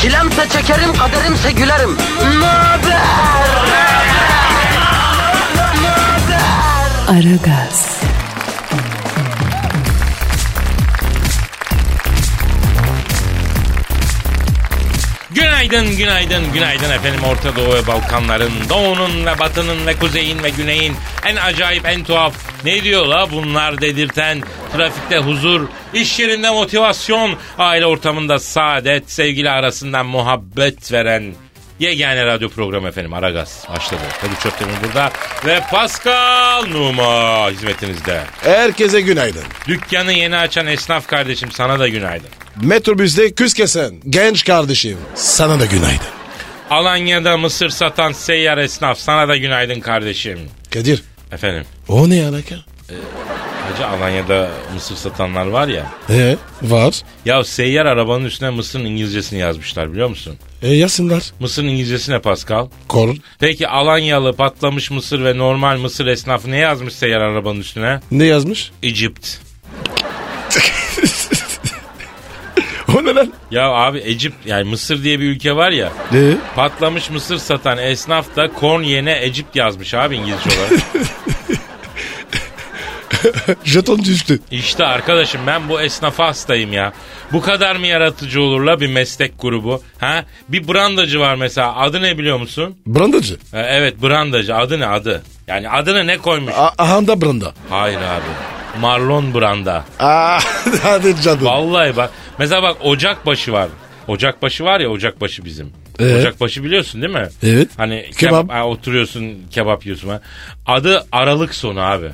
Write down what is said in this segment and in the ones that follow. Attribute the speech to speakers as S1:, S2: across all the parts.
S1: Çilemse çekerim, kaderimse gülerim. Möber!
S2: Aragaz,
S3: Günaydın, günaydın, günaydın efendim Orta Doğu ve Balkanların, Doğu'nun ve Batı'nın ve Kuzey'in ve Güney'in en acayip, en tuhaf, ne diyor la bunlar dedirten, trafikte huzur, iş yerinde motivasyon, aile ortamında saadet, sevgili arasından muhabbet veren yegane radyo programı efendim Aragaz başladı. Tabii Çöptemir burada ve Pascal Numa hizmetinizde.
S4: Herkese günaydın.
S3: Dükkanı yeni açan esnaf kardeşim sana da günaydın.
S4: Metrobüste küs kesen genç kardeşim. Sana da günaydın.
S3: Alanya'da mısır satan seyyar esnaf sana da günaydın kardeşim.
S4: Kadir
S3: Efendim
S4: o ne alaka?
S3: hacı Alanya'da mısır satanlar var ya.
S4: Ee, var.
S3: Ya seyyar arabanın üstüne mısırın İngilizcesini yazmışlar biliyor musun?
S4: E, yazsınlar.
S3: Mısırın İngilizcesi ne Pascal?
S4: Kol.
S3: Peki Alanyalı patlamış mısır ve normal mısır esnafı ne yazmış seyyar arabanın üstüne?
S4: Ne yazmış?
S3: Egypt.
S4: o ne lan?
S3: Ya abi Egypt yani Mısır diye bir ülke var ya.
S4: Ne?
S3: Patlamış mısır satan esnaf da Konya'na Egypt yazmış abi İngilizce olarak.
S4: Jeton düştü.
S3: İşte arkadaşım ben bu esnafa hastayım ya. Bu kadar mı yaratıcı olur la bir meslek grubu? Ha? Bir brandacı var mesela. Adı ne biliyor musun?
S4: Brandacı.
S3: Ee, evet brandacı. Adı ne adı? Yani adını ne koymuş?
S4: A- Ahanda branda.
S3: Hayır abi. Marlon Branda.
S4: Aa, hadi canım.
S3: Vallahi bak. Mesela bak Ocakbaşı var. Ocakbaşı var ya Ocakbaşı bizim.
S4: Ee?
S3: Ocakbaşı biliyorsun değil mi?
S4: Evet.
S3: Hani
S4: Kebap.
S3: kebap. ha, oturuyorsun kebap yiyorsun. Ha. Adı Aralık sonu abi.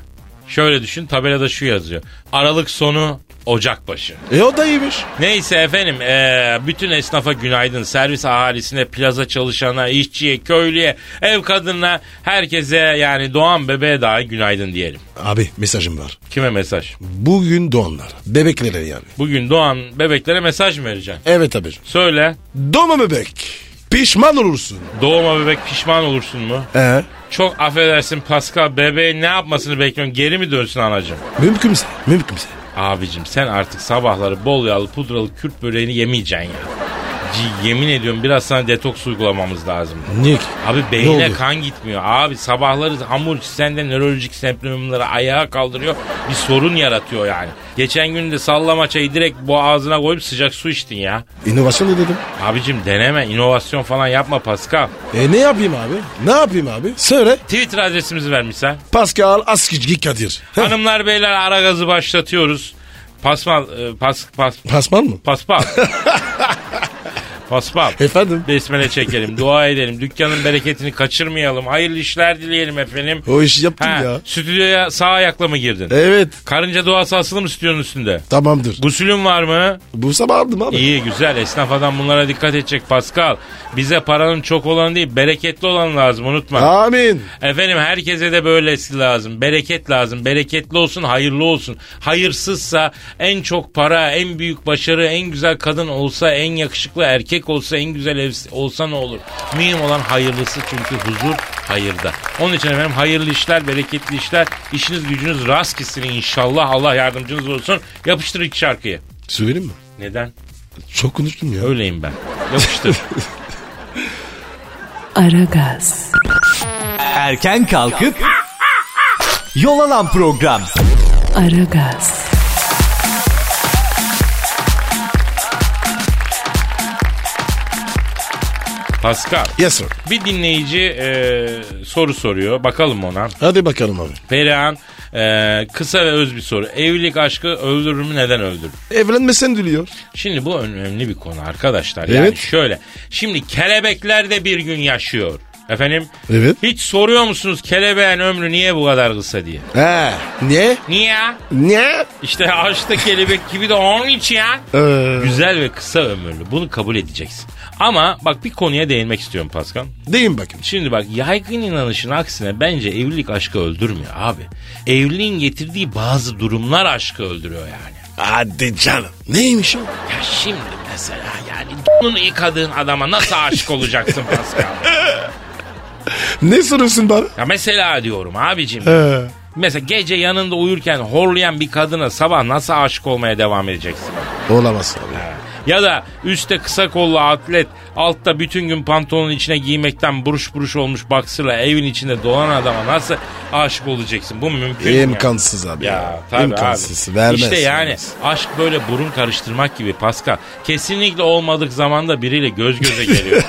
S3: Şöyle düşün tabelada şu yazıyor. Aralık sonu Ocakbaşı.
S4: E o da iyiymiş.
S3: Neyse efendim eee, bütün esnafa günaydın. Servis ahalisine, plaza çalışana, işçiye, köylüye, ev kadınına, herkese yani doğan bebeğe dahi günaydın diyelim.
S4: Abi mesajım var.
S3: Kime mesaj?
S4: Bugün doğanlar. Bebeklere yani.
S3: Bugün doğan bebeklere mesaj mı vereceksin?
S4: Evet abicim.
S3: Söyle.
S4: Doğma bebek. Pişman olursun.
S3: Doğma bebek pişman olursun mu?
S4: Ee?
S3: Çok affedersin Pascal bebeğin ne yapmasını bekliyorsun? Geri mi dönsün anacığım?
S4: Mümkünse. Mümkünse.
S3: Abicim sen artık sabahları bol yağlı pudralı Kürt böreğini yemeyeceksin ya. C- yemin ediyorum biraz sana detoks uygulamamız lazım.
S4: Niye ki?
S3: Abi
S4: Ne
S3: beyine
S4: oldu?
S3: kan gitmiyor. Abi sabahları hamur sende nörolojik semptomları ayağa kaldırıyor. Bir sorun yaratıyor yani. Geçen gün de sallama çayı direkt boğazına koyup sıcak su içtin ya.
S4: İnovasyon ne dedim?
S3: Abicim deneme inovasyon falan yapma Pascal.
S4: E ne yapayım abi? Ne yapayım abi? Söyle.
S3: Twitter adresimizi vermişsen.
S4: Pascal Askizgi Kadir. Heh,
S3: Hanımlar beyler ara gazı başlatıyoruz. Pasmal e, pas pas
S4: Pasman mı?
S3: paspal. paspal.
S4: Efendim?
S3: Besmele çekelim, dua edelim, dükkanın bereketini kaçırmayalım, hayırlı işler dileyelim efendim.
S4: O işi yaptım
S3: Ha,
S4: ya. E-
S3: Stüdyoya sağ ayakla mı girdin?
S4: Evet.
S3: Karınca duası asılı mı stüdyonun üstünde?
S4: Tamamdır.
S3: Gusülün var mı?
S4: Bu sabah aldım abi.
S3: İyi güzel esnaf adam bunlara dikkat edecek Pascal. Bize paranın çok olanı değil bereketli olan lazım unutma.
S4: Amin.
S3: Efendim herkese de böylesi lazım. Bereket lazım. Bereketli olsun, hayırlı olsun. Hayırsızsa en çok para, en büyük başarı, en güzel kadın olsa, en yakışıklı erkek olsa, en güzel ev olsa ne olur? Mühim olan hayırlısı çünkü huzur hayırda. Onun için efendim hayırlı işler, bereketli işler, işiniz gücünüz rast gitsin inşallah. Allah yardımcınız olsun. Yapıştır iki şarkıyı.
S4: Söyleyeyim mi?
S3: Neden?
S4: Çok konuştum ya.
S3: Öyleyim ben. Yapıştır.
S2: Aragaz,
S5: Erken kalkıp yol alan program.
S2: Aragaz,
S3: Pascal.
S4: Yes sir.
S3: Bir dinleyici e, soru soruyor. Bakalım ona.
S4: Hadi bakalım abi.
S3: Perihan e, kısa ve öz bir soru. Evlilik aşkı öldürür mü neden öldürür?
S4: Evlenmesen diliyor.
S3: Şimdi bu önemli bir konu arkadaşlar. Yani
S4: Evet.
S3: şöyle. Şimdi kelebekler de bir gün yaşıyor. Efendim?
S4: Evet.
S3: Hiç soruyor musunuz kelebeğin ömrü niye bu kadar kısa diye?
S4: He. Niye?
S3: Niye?
S4: Niye?
S3: İşte ağaçta kelebek gibi de onun için ya.
S4: Ee,
S3: Güzel ve kısa ömürlü. Bunu kabul edeceksin. Ama bak bir konuya değinmek istiyorum Pascal.
S4: deyin bakayım.
S3: Şimdi bak yaygın inanışın aksine bence evlilik aşkı öldürmüyor abi. Evliliğin getirdiği bazı durumlar aşkı öldürüyor yani.
S4: Hadi canım. Neymiş o?
S3: Ya şimdi mesela yani bunu yıkadığın adama nasıl aşık olacaksın Pascal?
S4: Ne soruyorsun bana?
S3: Ya mesela diyorum abicim.
S4: He.
S3: Mesela gece yanında uyurken horlayan bir kadına sabah nasıl aşık olmaya devam edeceksin?
S4: Olamaz abi.
S3: Ya da üstte kısa kollu atlet, altta bütün gün pantolonun içine giymekten buruş buruş olmuş baksırla evin içinde dolan adama nasıl aşık olacaksın? Bu mümkün mü?
S4: İmkansız abi.
S3: Ya,
S4: Ya,
S3: tabii
S4: İmkansız.
S3: abi.
S4: Vermez.
S3: İşte yani
S4: vermez.
S3: aşk böyle burun karıştırmak gibi Pascal. Kesinlikle olmadık zamanda biriyle göz göze geliyor.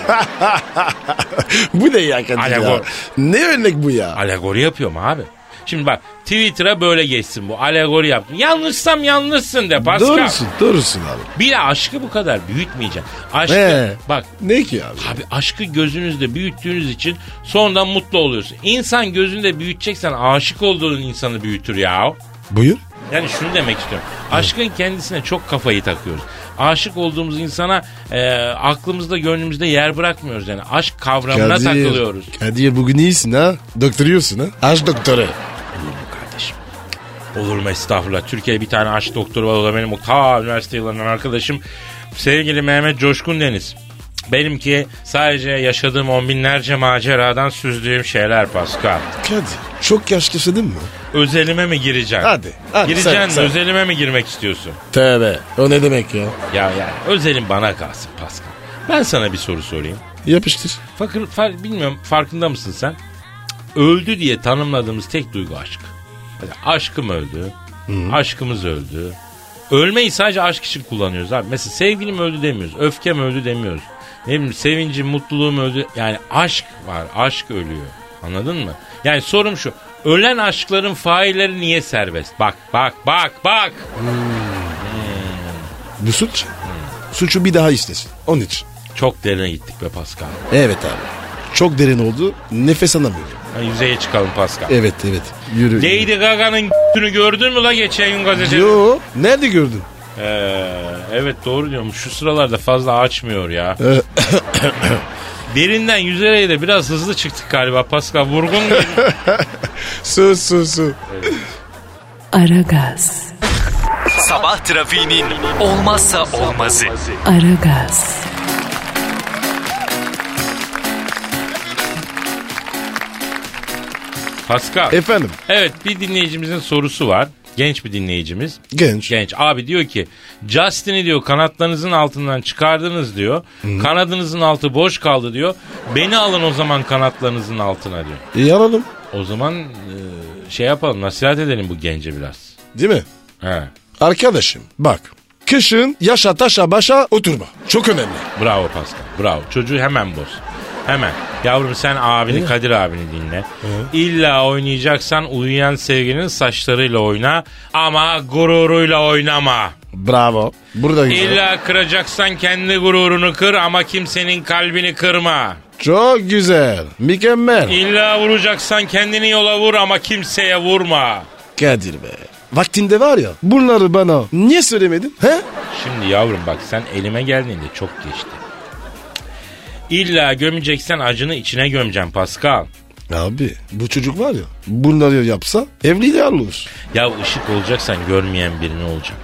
S4: bu ne ya Kadir ya?
S3: Alegor.
S4: Ne örnek bu ya?
S3: Alegori yapıyorum abi. Şimdi bak Twitter'a böyle geçsin bu. Alegori yaptım. Yanlışsam yanlışsın de Pascal.
S4: Doğrusun, doğrusun abi.
S3: Bir de aşkı bu kadar büyütmeyeceksin. Aşkı
S4: Ee?
S3: bak
S4: Ne ki abi?
S3: Abi aşkı gözünüzde büyüttüğünüz için sonradan mutlu oluyorsun. İnsan gözünde büyüteceksen aşık olduğun insanı büyütür ya.
S4: Buyur.
S3: Yani şunu demek istiyorum. Aşkın kendisine çok kafayı takıyoruz. Aşık olduğumuz insana e, aklımızda gönlümüzde yer bırakmıyoruz yani. Aşk kavramına takılıyoruz.
S4: Kadir bugün iyisin ha? Doktoruyorsun ha? Aç doktoru.
S3: kardeşim. Olur mu estağfurullah. Türkiye'de bir tane aşk doktoru var. O da benim o ta üniversite yıllarından arkadaşım. Sevgili Mehmet Coşkun Deniz. Benimki sadece yaşadığım on binlerce maceradan süzdüğüm şeyler Pascal.
S4: Kadir çok yaş yaşadın mı?
S3: Özelime mi gireceksin?
S4: Hadi, hadi,
S3: gireceksin
S4: sen-
S3: mi?
S4: sen.
S3: Özelime mi girmek istiyorsun?
S4: Tövbe. O ne demek ya?
S3: Ya yani özelim bana kalsın Pascal. Ben sana bir soru sorayım.
S4: Yapıştır.
S3: Fakir, far- bilmiyorum farkında mısın sen? Cık, Öldü diye tanımladığımız tek duygu aşk. Yani aşkım öldü. Aşkımız öldü. Ölmeyi sadece aşk için kullanıyoruz abi. Mesela sevgilim öldü demiyoruz. Öfkem öldü demiyoruz. Ne bileyim sevincim, mutluluğum öldü. Yani aşk var. Aşk ölüyor. Anladın mı? Yani sorum şu. Ölen aşkların failleri niye serbest? Bak, bak, bak, bak.
S4: Bu suç.
S3: Hmm.
S4: Suçu bir daha istesin. Onun için.
S3: Çok derine gittik be Pascal.
S4: Evet abi. Çok derin oldu. Nefes alamıyorum.
S3: Ha, yüzeye çıkalım Pascal.
S4: Evet evet. Yürü.
S3: Lady Gaga'nın g***ünü gördün mü la geçen gün gazetede?
S4: Yo. Nerede gördün?
S3: Ee, evet doğru diyorum. Şu sıralarda fazla açmıyor ya. Derinden yüzeye de biraz hızlı çıktık galiba Pascal. Vurgun muydu?
S4: Su su su.
S2: Aragaz,
S5: Sabah trafiğinin olmazsa olmazı.
S2: Aragaz,
S3: Pascal.
S4: Efendim.
S3: Evet bir dinleyicimizin sorusu var. Genç bir dinleyicimiz.
S4: Genç.
S3: Genç abi diyor ki Justin'i diyor kanatlarınızın altından çıkardınız diyor. Kanadınızın altı boş kaldı diyor. Beni alın o zaman kanatlarınızın altına diyor.
S4: İyi alalım.
S3: O zaman e, şey yapalım nasihat edelim bu gence biraz.
S4: Değil mi?
S3: He.
S4: Arkadaşım bak. Kışın yaşa taşa başa oturma. Çok önemli.
S3: Bravo Pascal. Bravo. Çocuğu hemen boz. Hemen. Yavrum sen abini Kadir abini dinle. İlla oynayacaksan uyuyan sevginin saçlarıyla oyna ama gururuyla oynama.
S4: Bravo. Burada güzel.
S3: İlla kıracaksan kendi gururunu kır ama kimsenin kalbini kırma.
S4: Çok güzel. Mükemmel.
S3: İlla vuracaksan kendini yola vur ama kimseye vurma.
S4: Kadir be. Vaktinde var ya bunları bana niye söylemedin? He?
S3: Şimdi yavrum bak sen elime geldiğinde çok geçti. İlla gömeceksen acını içine gömeceksin Pascal.
S4: Abi bu çocuk var ya bunları yapsa evli de olur.
S3: Ya ışık olacaksan görmeyen birini olacak.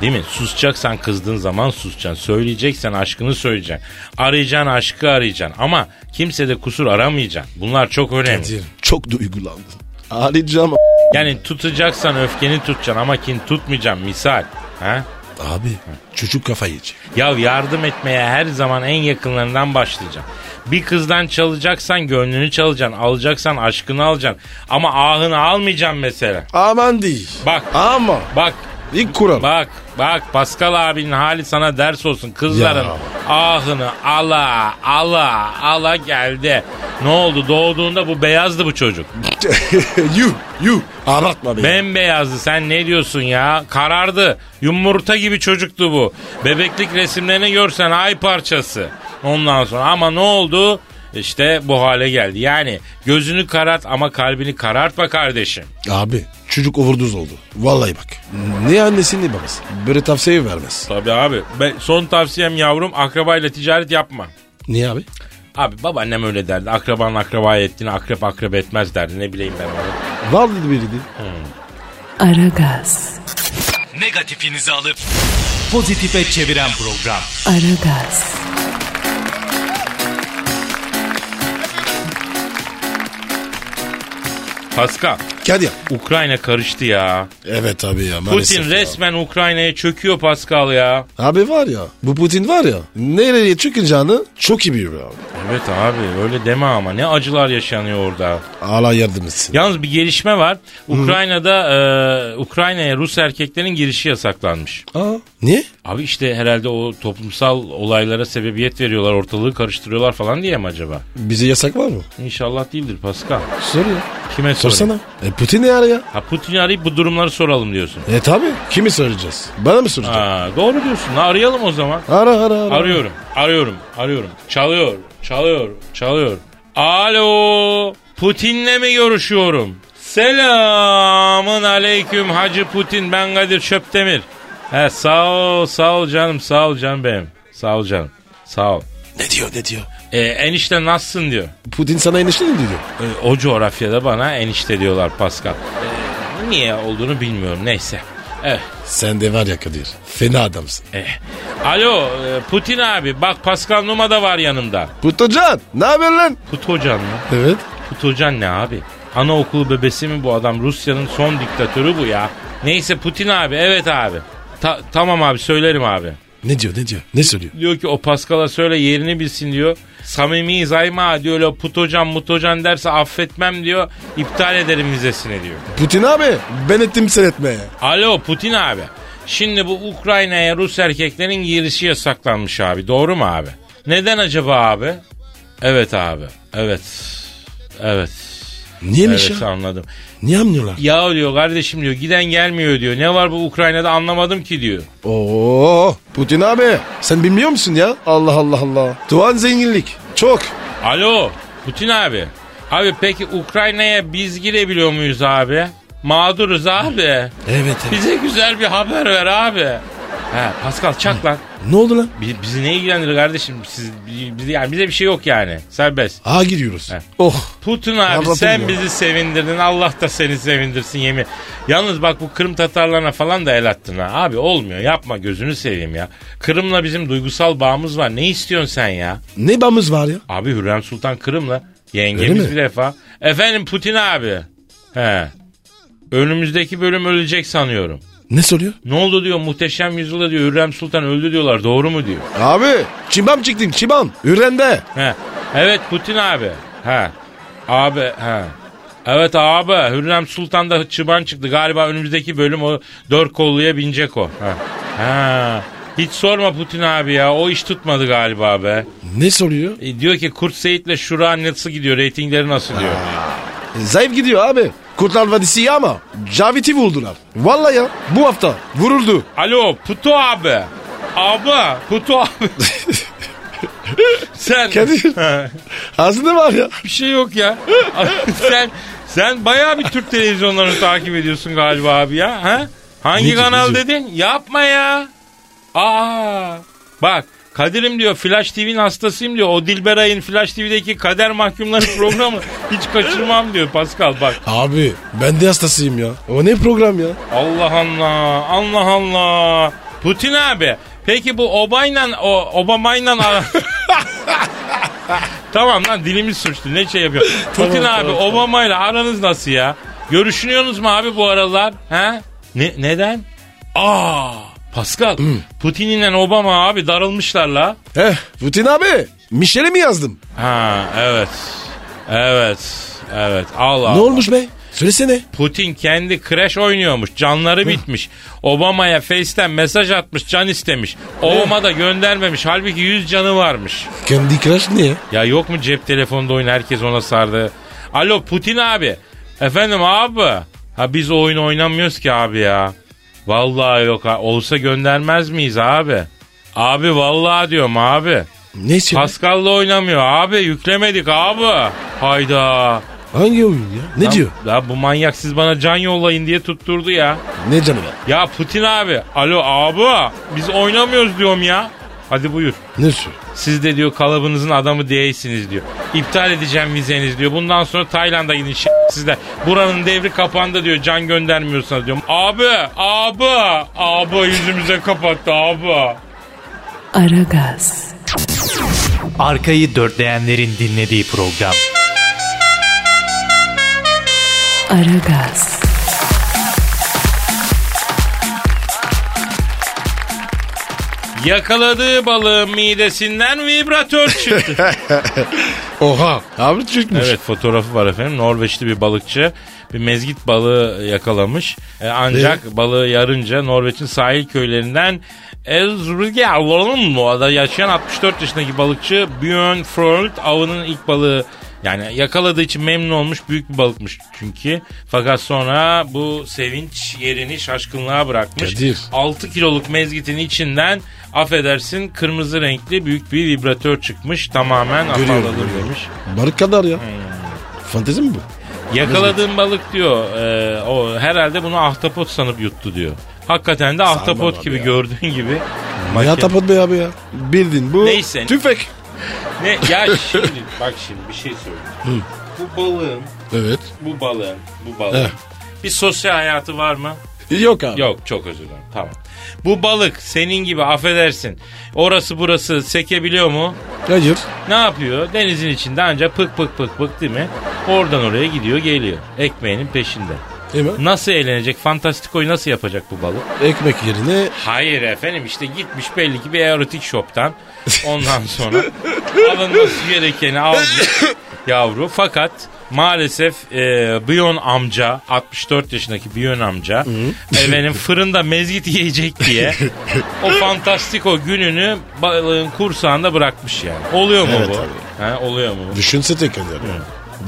S3: Değil mi? Susacaksan kızdığın zaman susacaksın. Söyleyeceksen aşkını söyleyeceksin. Arayacaksın aşkı arayacaksın. Ama kimse de kusur aramayacaksın. Bunlar çok önemli.
S4: Çok duygulandım. Ağlayacağım.
S3: Yani tutacaksan öfkeni tutacaksın ama kin tutmayacaksın misal. Ha?
S4: Abi çocuk kafa yiyecek.
S3: Ya yardım etmeye her zaman en yakınlarından başlayacaksın. Bir kızdan çalacaksan gönlünü çalacaksın. Alacaksan aşkını alacaksın. Ama ahını almayacaksın mesela.
S4: Aman değil.
S3: Bak.
S4: Ama
S3: Bak
S4: ilk kural.
S3: Bak bak Pascal abinin hali sana ders olsun. Kızların
S4: Ya.
S3: ahını ala ala ala geldi. Ne oldu doğduğunda bu beyazdı bu çocuk.
S4: you you aratma beni.
S3: Bembeyazdı sen ne diyorsun ya? Karardı. Yumurta gibi çocuktu bu. Bebeklik resimlerini görsen ay parçası. Ondan sonra ama ne oldu? işte bu hale geldi. Yani gözünü karart ama kalbini karartma kardeşim.
S4: Abi çocuk overdose oldu. Vallahi bak. Ne annesi ne babası. Böyle tavsiye vermez.
S3: Tabii abi. Ben, son tavsiyem yavrum akrabayla ticaret yapma.
S4: Niye abi?
S3: Abi babaannem öyle derdi. Akraban akrabaya ettiğini akrep akrep etmez derdi. Ne bileyim ben onu.
S4: Vallahi biriydi.
S2: Aragaz,
S5: Negatifinizi alıp pozitife çeviren program.
S2: Aragaz,
S3: Pascal,
S4: Kadir.
S3: Ukrayna karıştı ya.
S4: Evet abi ya maalesef
S3: Putin
S4: ya.
S3: resmen Ukrayna'ya çöküyor Pascal ya.
S4: Abi var ya bu Putin var ya nereye çıkacağını çok iyi biliyor abi.
S3: Evet abi öyle deme ama ne acılar yaşanıyor orada.
S4: Allah yardım etsin.
S3: Yalnız bir gelişme var. Ukrayna'da e, Ukrayna'ya Rus erkeklerin girişi yasaklanmış.
S4: Aa, niye?
S3: Abi işte herhalde o toplumsal olaylara sebebiyet veriyorlar, ortalığı karıştırıyorlar falan diye mi acaba?
S4: Bize yasak var mı?
S3: İnşallah değildir Pascal.
S4: Sor ya.
S3: Kime sorayım?
S4: Sorsana. E Putin ne ara ya?
S3: Ha Putin'i arayıp bu durumları soralım diyorsun.
S4: E tabi. Kimi soracağız? Bana mı soracaksın?
S3: Ha, doğru diyorsun. Arayalım o zaman.
S4: Ara ara ara.
S3: Arıyorum, arıyorum, arıyorum. Çalıyor, çalıyor, çalıyor. Alo, Putin'le mi görüşüyorum? Selamın aleyküm Hacı Putin, ben Kadir Çöptemir. He, sağ ol, sağ ol canım, sağ ol canım benim. Sağ ol canım, sağ ol.
S4: Ne diyor ne diyor?
S3: E, enişte nasılsın diyor.
S4: Putin sana enişte mi diyor?
S3: E, o coğrafyada bana enişte diyorlar Pascal. E, niye olduğunu bilmiyorum, neyse. Evet.
S4: Sen de var ya Kadir. Fena adamsın.
S3: Eh. Alo e, Putin abi bak Pascal Numa da var yanımda.
S4: Putocan ne haber lan?
S3: Putocan mı?
S4: Evet.
S3: Putocan ne abi? Anaokulu bebesi mi bu adam? Rusya'nın son diktatörü bu ya. Neyse Putin abi evet abi. Ta- tamam abi söylerim abi.
S4: Ne diyor ne diyor? Ne söylüyor?
S3: Diyor ki o Pascal'a söyle yerini bilsin diyor. Samimiyiz ayma diyor. Öyle Putocan mutocan derse affetmem diyor. İptal ederim vizesini diyor.
S4: Putin abi ben ettim sen etme.
S3: Alo Putin abi. Şimdi bu Ukrayna'ya Rus erkeklerin girişi yasaklanmış abi. Doğru mu abi? Neden acaba abi? Evet abi. Evet. Evet.
S4: Niyemiş
S3: evet
S4: ya?
S3: anladım.
S4: Niye anlıyorlar?
S3: Ya diyor kardeşim diyor giden gelmiyor diyor. Ne var bu Ukrayna'da anlamadım ki diyor.
S4: Oo Putin abi sen bilmiyor musun ya? Allah Allah Allah. Doğan zenginlik çok.
S3: Alo Putin abi. Abi peki Ukrayna'ya biz girebiliyor muyuz abi? Mağduruz abi.
S4: Evet
S3: Bize güzel bir haber ver abi. He Pascal çak lan.
S4: Ne oldu lan?
S3: Bi- bizi ne ilgilendirir kardeşim? Siz, bizi, yani bize bir şey yok yani. Serbest.
S4: Aa gidiyoruz.
S3: He.
S4: Oh.
S3: Putin abi
S4: Anladım
S3: sen
S4: ya.
S3: bizi sevindirdin. Allah da seni sevindirsin yemin. Yalnız bak bu Kırım Tatarlarına falan da el attın ha. Abi olmuyor yapma gözünü seveyim ya. Kırım'la bizim duygusal bağımız var. Ne istiyorsun sen ya?
S4: Ne bağımız var ya?
S3: Abi Hürrem Sultan Kırım'la
S4: Öyle
S3: yengemiz
S4: mi?
S3: bir defa. Efendim Putin abi. He. Önümüzdeki bölüm ölecek sanıyorum.
S4: Ne soruyor?
S3: Ne oldu diyor muhteşem yüzyılda diyor Hürrem Sultan öldü diyorlar doğru mu diyor.
S4: Abi çimbam çıktım çimbam. Ürende.
S3: He. Evet Putin abi. He. Abi he. Evet abi Hürrem Sultan da çıban çıktı. Galiba önümüzdeki bölüm o dört kolluya binecek o. He. He. Hiç sorma Putin abi ya. O iş tutmadı galiba be.
S4: Ne soruyor?
S3: E, diyor ki Kurt Seyit'le Şura nasıl gidiyor? Reytingleri nasıl diyor.
S4: E, Zayıf gidiyor abi. Kurtlar Vadisi ya ama Cavit'i vurdular. Vallahi ya bu hafta vuruldu.
S3: Alo Puto abi. Abi Puto abi. Sen
S4: Kadir. Aslında var ya.
S3: bir şey yok ya. sen sen bayağı bir Türk televizyonlarını takip ediyorsun galiba abi ya. Ha? Hangi
S4: Ne diyor,
S3: kanal
S4: ne diyor?
S3: dedin? Yapma ya. Aa. Bak Kadir'im diyor Flash TV'nin hastasıyım diyor. O Dilberay'ın Flash TV'deki kader mahkumları programı hiç kaçırmam diyor Pascal bak.
S4: Abi ben de hastasıyım ya. O ne program ya?
S3: Allah Allah Allah Allah. Putin abi peki bu Obay'la o, Obama'yla ara- Tamam lan dilimiz suçtu ne şey yapıyor. Putin
S4: Tamam,
S3: abi
S4: tamam,
S3: Obama'yla aranız nasıl ya? Görüşünüyorsunuz mu abi bu aralar? He? Ne, neden? Aa Pascal
S4: Hmm.
S3: Putin'inle Obama abi darılmışlar la.
S4: Eh Putin abi. Michel'e mi yazdım?
S3: Ha evet. Evet. Evet. Allah
S4: Ne olmuş be? Söylesene.
S3: Putin kendi kreş oynuyormuş. Canları bitmiş. Obama'ya Face'ten mesaj atmış. Can istemiş. Obama da göndermemiş. Halbuki 100 canı varmış.
S4: Kendi Crush ne ya?
S3: Ya yok mu cep telefonda oyun herkes ona sardı. Alo Putin abi. Efendim abi. Ha biz o oyunu oynamıyoruz ki abi ya. Vallahi yok ha. Olsa göndermez miyiz abi? Abi vallahi diyorum abi.
S4: Ne istiyor?
S3: Pascal'la oynamıyor abi yüklemedik abi. Hayda.
S4: Hangi oyun ya? Ne
S3: Ya-
S4: diyor?
S3: Ya bu manyak siz bana can yollayın diye tutturdu ya.
S4: Ne canı be?
S3: Ya Putin abi. Alo abi. Biz oynamıyoruz diyorum ya. Hadi buyur.
S4: Ne sür?
S3: Siz de diyor kalıbınızın adamı değilsiniz diyor. İptal edeceğim vizeniz diyor. Bundan sonra Tayland'a gidin ş- sizler. Buranın devri kapandı diyor. Can göndermiyorsunuz diyor. Abi, abi, abi yüzümüze kapattı abi.
S2: Aragaz,
S5: Arkayı dörtleyenlerin dinlediği program.
S2: Aragaz,
S3: Yakaladığı balığın midesinden vibratör çıktı.
S4: Oha. Abi Türkmüş.
S3: Evet fotoğrafı var efendim. Norveçli bir balıkçı bir mezgit balığı yakalamış. E, ancak balığı yarınca Norveç'in sahil köylerinden Elzurgjalon'da yaşayan 64 yaşındaki balıkçı Björn Frold avının ilk balığı yani yakaladığı için memnun olmuş büyük bir balıkmış çünkü. Fakat sonra bu sevinç yerini şaşkınlığa bırakmış.
S4: Kadir.
S3: 6 kiloluk mezgitin içinden affedersin kırmızı renkli büyük bir vibratör çıkmış. Tamamen
S4: Görüyorum,
S3: afalladım
S4: görüyorum.
S3: demiş.
S4: kadar ya. Fantezi mi bu?
S3: Yakaladığım balık diyor e, o herhalde bunu ahtapot sanıp yuttu diyor. Hakikaten de ahtapot
S4: abi
S3: gibi
S4: ya.
S3: gördüğün gibi.
S4: Ne Yatapot Bey abi ya. Bildin bu.
S3: Neyse.
S4: Tüfek.
S3: Ne ya şimdi bak şimdi bir şey söyleyeyim. bu balığın,
S4: Evet.
S3: bu balığın, bu balığın
S4: Eh.
S3: bir sosyal hayatı var mı?
S4: Yok abi.
S3: Yok çok özür dilerim. Tamam. Bu balık senin gibi affedersin. Orası burası sekebiliyor mu?
S4: Hayır.
S3: Ne yapıyor? Denizin içinde ancak pık pık pık pık değil mi? Oradan oraya gidiyor geliyor. Ekmeğinin peşinde.
S4: Değil mi?
S3: Nasıl eğlenecek? Fantastikoyu nasıl yapacak bu balık?
S4: Ekmek yerine
S3: Hayır efendim işte gitmiş belli ki bir erotik shop'tan. Ondan sonra alınması gerekeni almış yavru. Fakat maalesef e, Bion amca 64 yaşındaki Bion amca efendim fırında mezgit yiyecek diye o fantastiko gününü balığın kursağında bırakmış yani. Oluyor mu
S4: Evet
S3: bu?
S4: abi.
S3: Ha, oluyor mu bu?
S4: düşünse tekrar yani.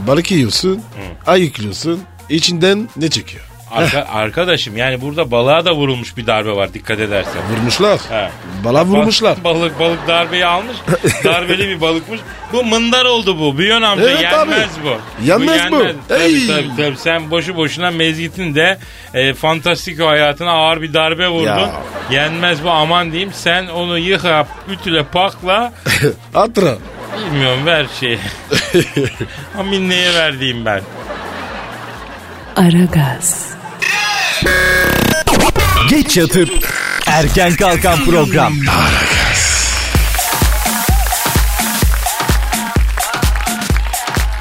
S4: Balık yiyorsun, ayıklıyorsun, içinden ne çıkıyor?
S3: Arka- arkadaşım yani burada balığa da vurulmuş bir darbe var dikkat edersen.
S4: Vurmuşlar.
S3: Ha.
S4: Bala vurmuşlar.
S3: Bal- balık balık darbeyi almış. Darbeli bir balıkmış. Bu mındar oldu bu. Büyön amca
S4: Evet
S3: yenmez
S4: abi.
S3: bu.
S4: Yenmez bu.
S3: Tabii,
S4: Ey.
S3: tabii, tabii. Sen boşu boşuna mezgitin de e, fantastik hayatına ağır bir darbe vurdun.
S4: Ya.
S3: Yenmez bu aman diyeyim. Sen onu yıka, ütüle, pakla.
S4: Atra.
S3: Bilmiyorum ver şeyi. Amin neye verdiğim ben.
S2: Aragaz,
S5: Geç yatıp erken kalkan program.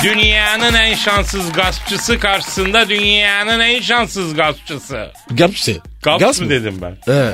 S3: Dünyanın en şanssız gaspçısı karşısında dünyanın en şanssız gaspçısı.
S4: Gapsi.
S3: Gasp
S4: Gaps
S3: mı, dedim ben?
S4: He.
S3: Ya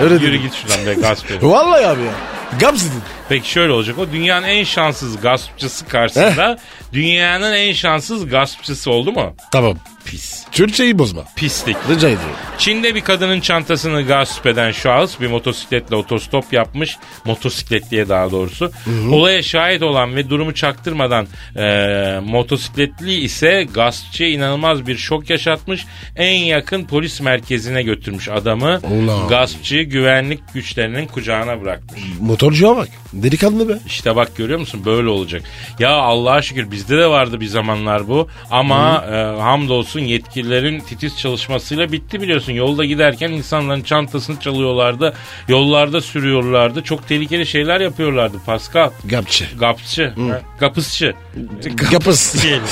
S4: Öyle
S3: yürü
S4: dedim.
S3: git şuradan be gasp herif.
S4: Vallahi abi ya. Gaps dedin.
S3: Peki şöyle olacak. O dünyanın en şanssız gaspçısı karşısında dünyanın en şanssız gaspçısı oldu mu?
S4: Tamam.
S3: Pis.
S4: Türkçeyi bozma.
S3: Pislik.
S4: Rica ediyorum.
S3: Çin'de bir kadının çantasını gasp eden şahıs bir motosikletle otostop yapmış. Motosikletliye daha doğrusu. Olaya şahit olan ve durumu çaktırmadan e, motosikletli ise gaspçıya inanılmaz bir şok yaşatmış. En yakın polis merkezine götürmüş adamı.
S4: Ulan.
S3: Gaspçıyı güvenlik güçlerinin kucağına bırakmış.
S4: Motorcuya bak. Delikanlı be.
S3: İşte bak görüyor musun böyle olacak. Ya Allah'a şükür bizde de vardı bir zamanlar bu. Ama e, hamdolsun yetkililerin titiz çalışmasıyla bitti biliyorsun. Yolda giderken insanların çantasını çalıyorlardı. Yollarda sürüyorlardı. Çok tehlikeli şeyler yapıyorlardı Pascal.
S4: Gapçı.
S3: Gapçı. ha, Gapısçı.
S4: Gapıs.
S3: diyelim.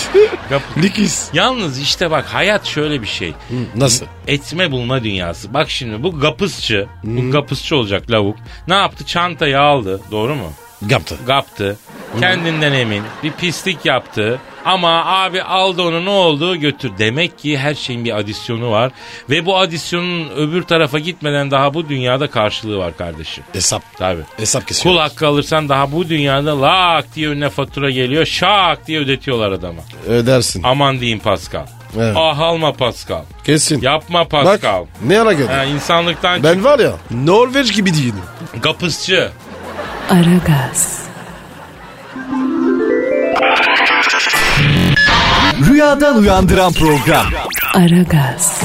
S3: Gap-
S4: Likiz.
S3: Yalnız işte bak hayat şöyle bir şey
S4: Nasıl?
S3: etme bulma dünyası. Bak şimdi bu gapısçı, bu gapısçı olacak lavuk. Ne yaptı? Çantayı aldı. Doğru mu?
S4: Gaptı.
S3: Gaptı. Kendinden emin. Bir pislik yaptı. Ama abi aldı onu ne oldu götür. Demek ki her şeyin bir adisyonu var. Ve bu adisyonun öbür tarafa gitmeden daha bu dünyada karşılığı var kardeşim.
S4: Hesap.
S3: Tabii.
S4: Hesap kesiyor.
S3: Kul hakkı alırsan daha bu dünyada lak diye önüne fatura geliyor. Şak diye ödetiyorlar adama.
S4: Ödersin.
S3: Aman diyeyim Pascal.
S4: Evet.
S3: Ah alma Pascal.
S4: Kesin.
S3: Yapma
S4: Bak
S3: Pascal.
S4: ne ara geldi?
S3: Ha, insanlıktan
S4: Ben var ya Norveç gibi değilim.
S3: çık- Gapısçı.
S2: Aragaz,
S5: Rüyadan uyandıran program.
S2: Aragaz,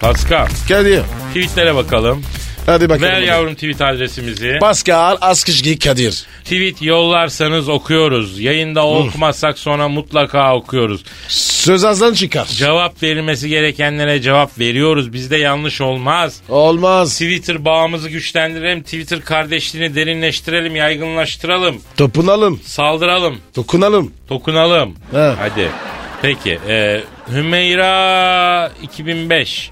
S3: Pascal
S4: Kadir.
S3: tweetlere bakalım.
S4: Hadi bakalım.
S3: Ver yavrum tweet adresimizi.
S4: Pascal Askışgi Kadir.
S3: tweet yollarsanız okuyoruz. Yayında okumasak sonra mutlaka okuyoruz.
S4: Söz azdan çıkar.
S3: Cevap verilmesi gerekenlere cevap veriyoruz. Bizde yanlış olmaz.
S4: Olmaz.
S3: Twitter bağımızı güçlendirelim. Twitter kardeşliğini derinleştirelim, yaygınlaştıralım.
S4: Topunalım.
S3: Saldıralım,
S4: Dokunalım.
S3: dokunalım.
S4: He.
S3: Hadi. Peki. e, Hümeyra 2005.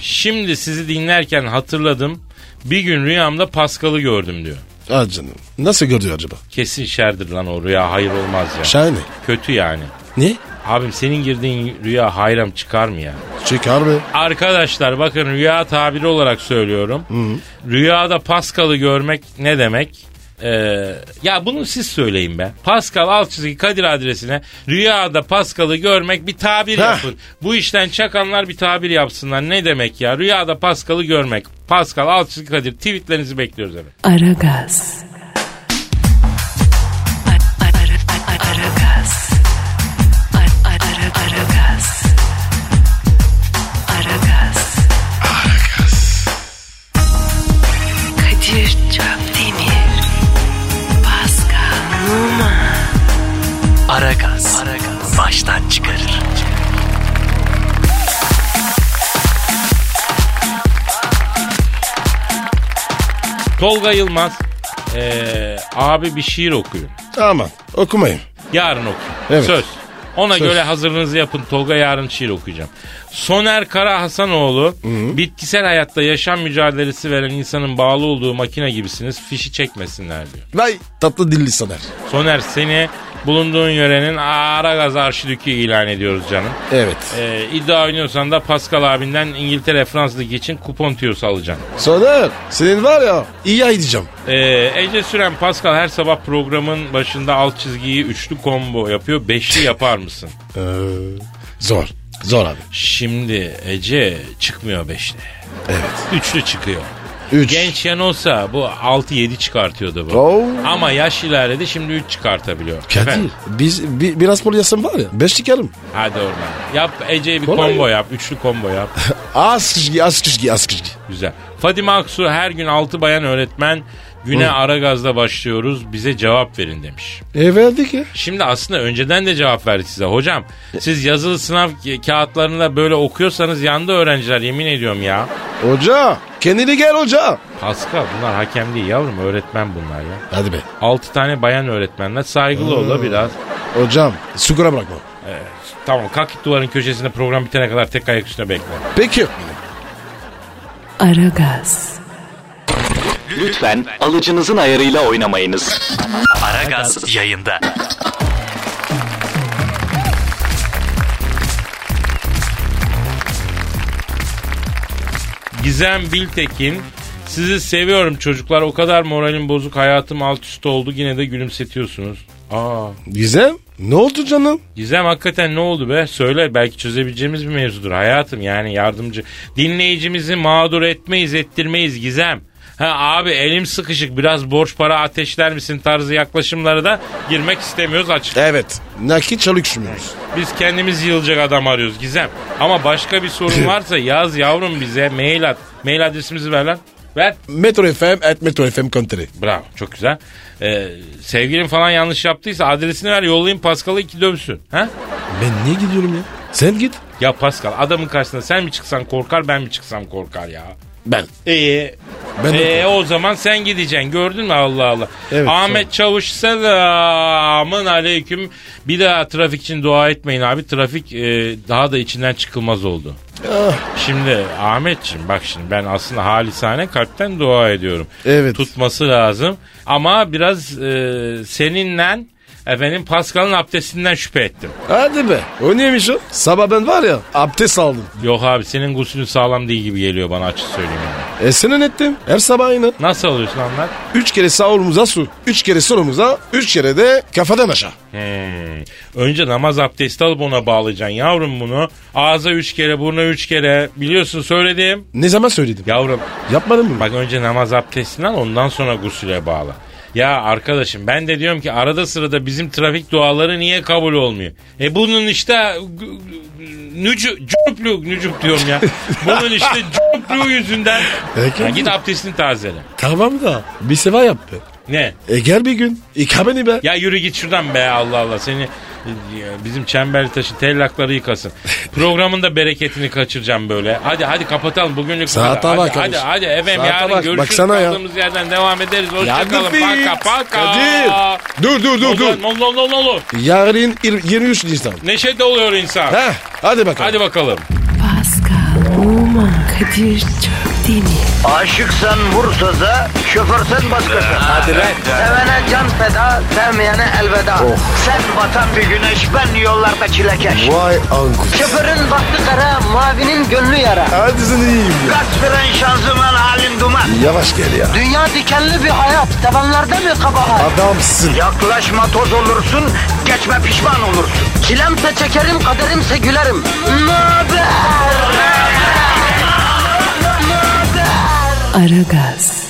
S3: Şimdi sizi dinlerken hatırladım. Bir gün rüyamda Paskal'ı gördüm diyor.
S4: Ah canım. Nasıl görüyor acaba?
S3: Kesin şerdir lan o rüya. Hayır olmaz ya.
S4: Şahane.
S3: Kötü yani.
S4: Ne?
S3: Abim senin girdiğin rüya hayram çıkar mı ya?
S4: Çıkar be.
S3: Arkadaşlar bakın rüya tabiri olarak söylüyorum. Rüyada Pascal'ı görmek ne demek? Ee, ya bunu siz söyleyin be. Pascal alt çizgi Kadir adresine rüyada Pascal'ı görmek bir tabir
S4: Heh.
S3: yapın. Bu işten çakanlar bir tabir yapsınlar. Ne demek ya? Rüyada Pascal'ı görmek. Pascal alt çizgi Kadir tweetlerinizi bekliyoruz efendim.
S2: Aragaz. Aragaz. Aragaz. Aragaz. Kadir Çöptemir. Pascal Numa.
S6: Aragaz. Baştan çıkarır.
S3: Tolga Yılmaz ee, abi bir şiir okuyun.
S4: Aman okumayın.
S3: Yarın okuyun.
S4: Evet.
S3: Söz. Ona
S4: Söz.
S3: göre hazırlığınızı yapın. Tolga yarın şiir okuyacağım. Soner Kara Hasanoğlu bitkisel hayatta yaşam mücadelesi veren insanın bağlı olduğu makine gibisiniz. Fişi çekmesinler diyor.
S4: Vay tatlı dilli sanar.
S3: Soner seni bulunduğun yörenin Aragaz Arşidükü ilan ediyoruz canım.
S4: Evet.
S3: Ee, iddia oynuyorsan da Pascal abinden İngiltere Fransız Ligi için kupon tüyosu alacaksın.
S4: Soner senin var ya iyi ay diyeceğim.
S3: Ee, Ece Süren Pascal her sabah programın başında alt çizgiyi üçlü combo yapıyor. Beşli yapar mısın?
S4: Ee, zor. Zor abi.
S3: Şimdi Ece çıkmıyor beşli.
S4: Evet.
S3: Üçlü çıkıyor.
S4: Üç.
S3: Gençken olsa bu 6-7 çıkartıyordu bu.
S4: Oo.
S3: Ama yaş ilerledi şimdi 3 çıkartabiliyor.
S4: Kadir
S3: Efendim?
S4: biz bi- biraz pol yasam var ya. Beş çıkarım.
S3: Hadi oradan. Yap Ece'ye bir
S4: Kolay
S3: combo yap. Üçlü combo yap.
S4: Askışgi askışgi askışgi.
S3: Güzel. Fadime Aksu her gün 6 bayan öğretmen güne ara gazda başlıyoruz. Bize cevap verin demiş.
S4: E verdik ya.
S3: Şimdi aslında önceden de cevap verdik size. Hocam
S4: E-
S3: siz yazılı sınav ka- kağıtlarında böyle okuyorsanız yandı öğrenciler yemin ediyorum ya.
S4: Hoca kendini gel hoca.
S3: Pascal bunlar hakem değil yavrum öğretmen bunlar ya.
S4: Hadi be.
S3: 6 tane bayan öğretmenler saygılı ol da biraz.
S4: Hocam sukura bırakma.
S3: Tamam kalk git duvarın köşesinde program bitene kadar tek ayak üstüne bekle.
S4: Peki.
S2: Aragaz.
S6: Lütfen alıcınızın ayarıyla oynamayınız. Aragaz yayında.
S3: Gizem Biltekin sizi seviyorum çocuklar o kadar moralim bozuk hayatım alt üst oldu yine de gülümsetiyorsunuz. Aa,
S4: Gizem ne oldu canım?
S3: Gizem hakikaten ne oldu be? Söyle belki çözebileceğimiz bir mevzudur hayatım yani yardımcı. Dinleyicimizi mağdur etmeyiz ettirmeyiz Gizem. Ha abi elim sıkışık biraz borç para ateşler misin tarzı yaklaşımlara da girmek istemiyoruz açık.
S4: Evet. Nakit çalışmıyoruz.
S3: Biz kendimiz yılacak adam arıyoruz Gizem. Ama başka bir sorun varsa yaz yavrum bize mail at. Mail adresimizi ver lan. Ver.
S4: Metro FM at Metro FM country.
S3: Bravo çok güzel. Ee, sevgilin falan yanlış yaptıysa adresini ver yollayayım Pascal'ı iki dövsün. Ha?
S4: Ben niye gidiyorum ya? Sen git.
S3: Ya Pascal adamın karşısına sen mi çıksan korkar ben mi çıksam korkar ya.
S4: Ben.
S3: Ee,
S4: Ben de-
S3: ee, o zaman sen gideceksin gördün mü Allah Allah.
S4: Evet,
S3: Ahmet Çavuş selamın aleyküm. Bir daha trafik için dua etmeyin abi. Trafik e, daha da içinden çıkılmaz oldu.
S4: Ah.
S3: Şimdi Ahmetciğim bak şimdi ben aslında halisane kalpten dua ediyorum.
S4: Evet.
S3: Tutması lazım ama biraz e, seninle efendim Pascal'ın abdestinden şüphe ettim.
S4: Hadi be. O neymiş o? Sabah ben var ya abdest aldım.
S3: Yok abi senin gusülün sağlam değil gibi geliyor bana açık söyleyeyim. yani.
S4: E senin ettim. Her sabah aynı.
S3: Nasıl alıyorsun anlat?
S4: Üç kere sağ olumuza su. Üç kere solumuza. Üç kere de kafadan aşağı.
S3: Hmm. Önce namaz abdesti alıp ona bağlayacaksın yavrum bunu. Ağza üç kere, burna üç kere. Biliyorsun söyledim.
S4: Ne zaman söyledim?
S3: Yavrum
S4: Yapmadın mı?
S3: bak önce namaz abdestini al ondan sonra gusüle bağla. Ya arkadaşım ben de diyorum ki arada sırada bizim trafik duaları niye kabul olmuyor? E bunun işte nücu, cüplü, nücup diyorum ya. Bunun işte cüplü yüzünden.
S4: Peki.
S3: Ya git abdestini tazele.
S4: Tamam da bir sefer yap be.
S3: Ne?
S4: E gel bir gün. İka beni be.
S3: Ya yürü git şuradan be Allah Allah seni e, bizim çemberli taşın tellakları yıkasın. Programın da bereketini kaçıracağım böyle. Hadi hadi kapatalım bugünlük. bu
S4: Saate
S3: kadar.
S4: bak
S3: hadi, hadi,
S4: kardeşim.
S3: hadi efendim
S4: Saate
S3: yarın
S4: bak.
S3: görüşürüz.
S4: Baksana ya.
S3: Kaldığımız yerden devam ederiz. Hoşçakalın.
S4: Kadir.
S3: Paka paka.
S4: Kadir. Dur dur dur dur.
S3: Nol nol nol nol.
S4: Yarın il- 23 Nisan.
S3: Neşe de oluyor insan.
S4: Heh, hadi bakalım.
S3: Hadi bakalım.
S2: Pascal, Oman, Kadir çok değil mi?
S1: Aşıksan vursa da, şoförsen başkasın. Hadi
S6: lan.
S1: Sevene can feda, sevmeyene elveda. Sen batan bir güneş, ben yollarda çilekeş.
S4: Vay anku.
S1: Şoförün baktı kara, mavinin gönlü yara.
S4: Hadi sen iyiyim ya.
S1: Kasperen şanzıman halin duman.
S4: Yavaş gel ya.
S1: Dünya dikenli bir hayat, sevenlerde mi kabahar?
S4: Adamsın.
S1: Yaklaşma toz olursun, geçme pişman olursun. Çilemse çekerim, kaderimse gülerim. Möber!
S2: Aragaz.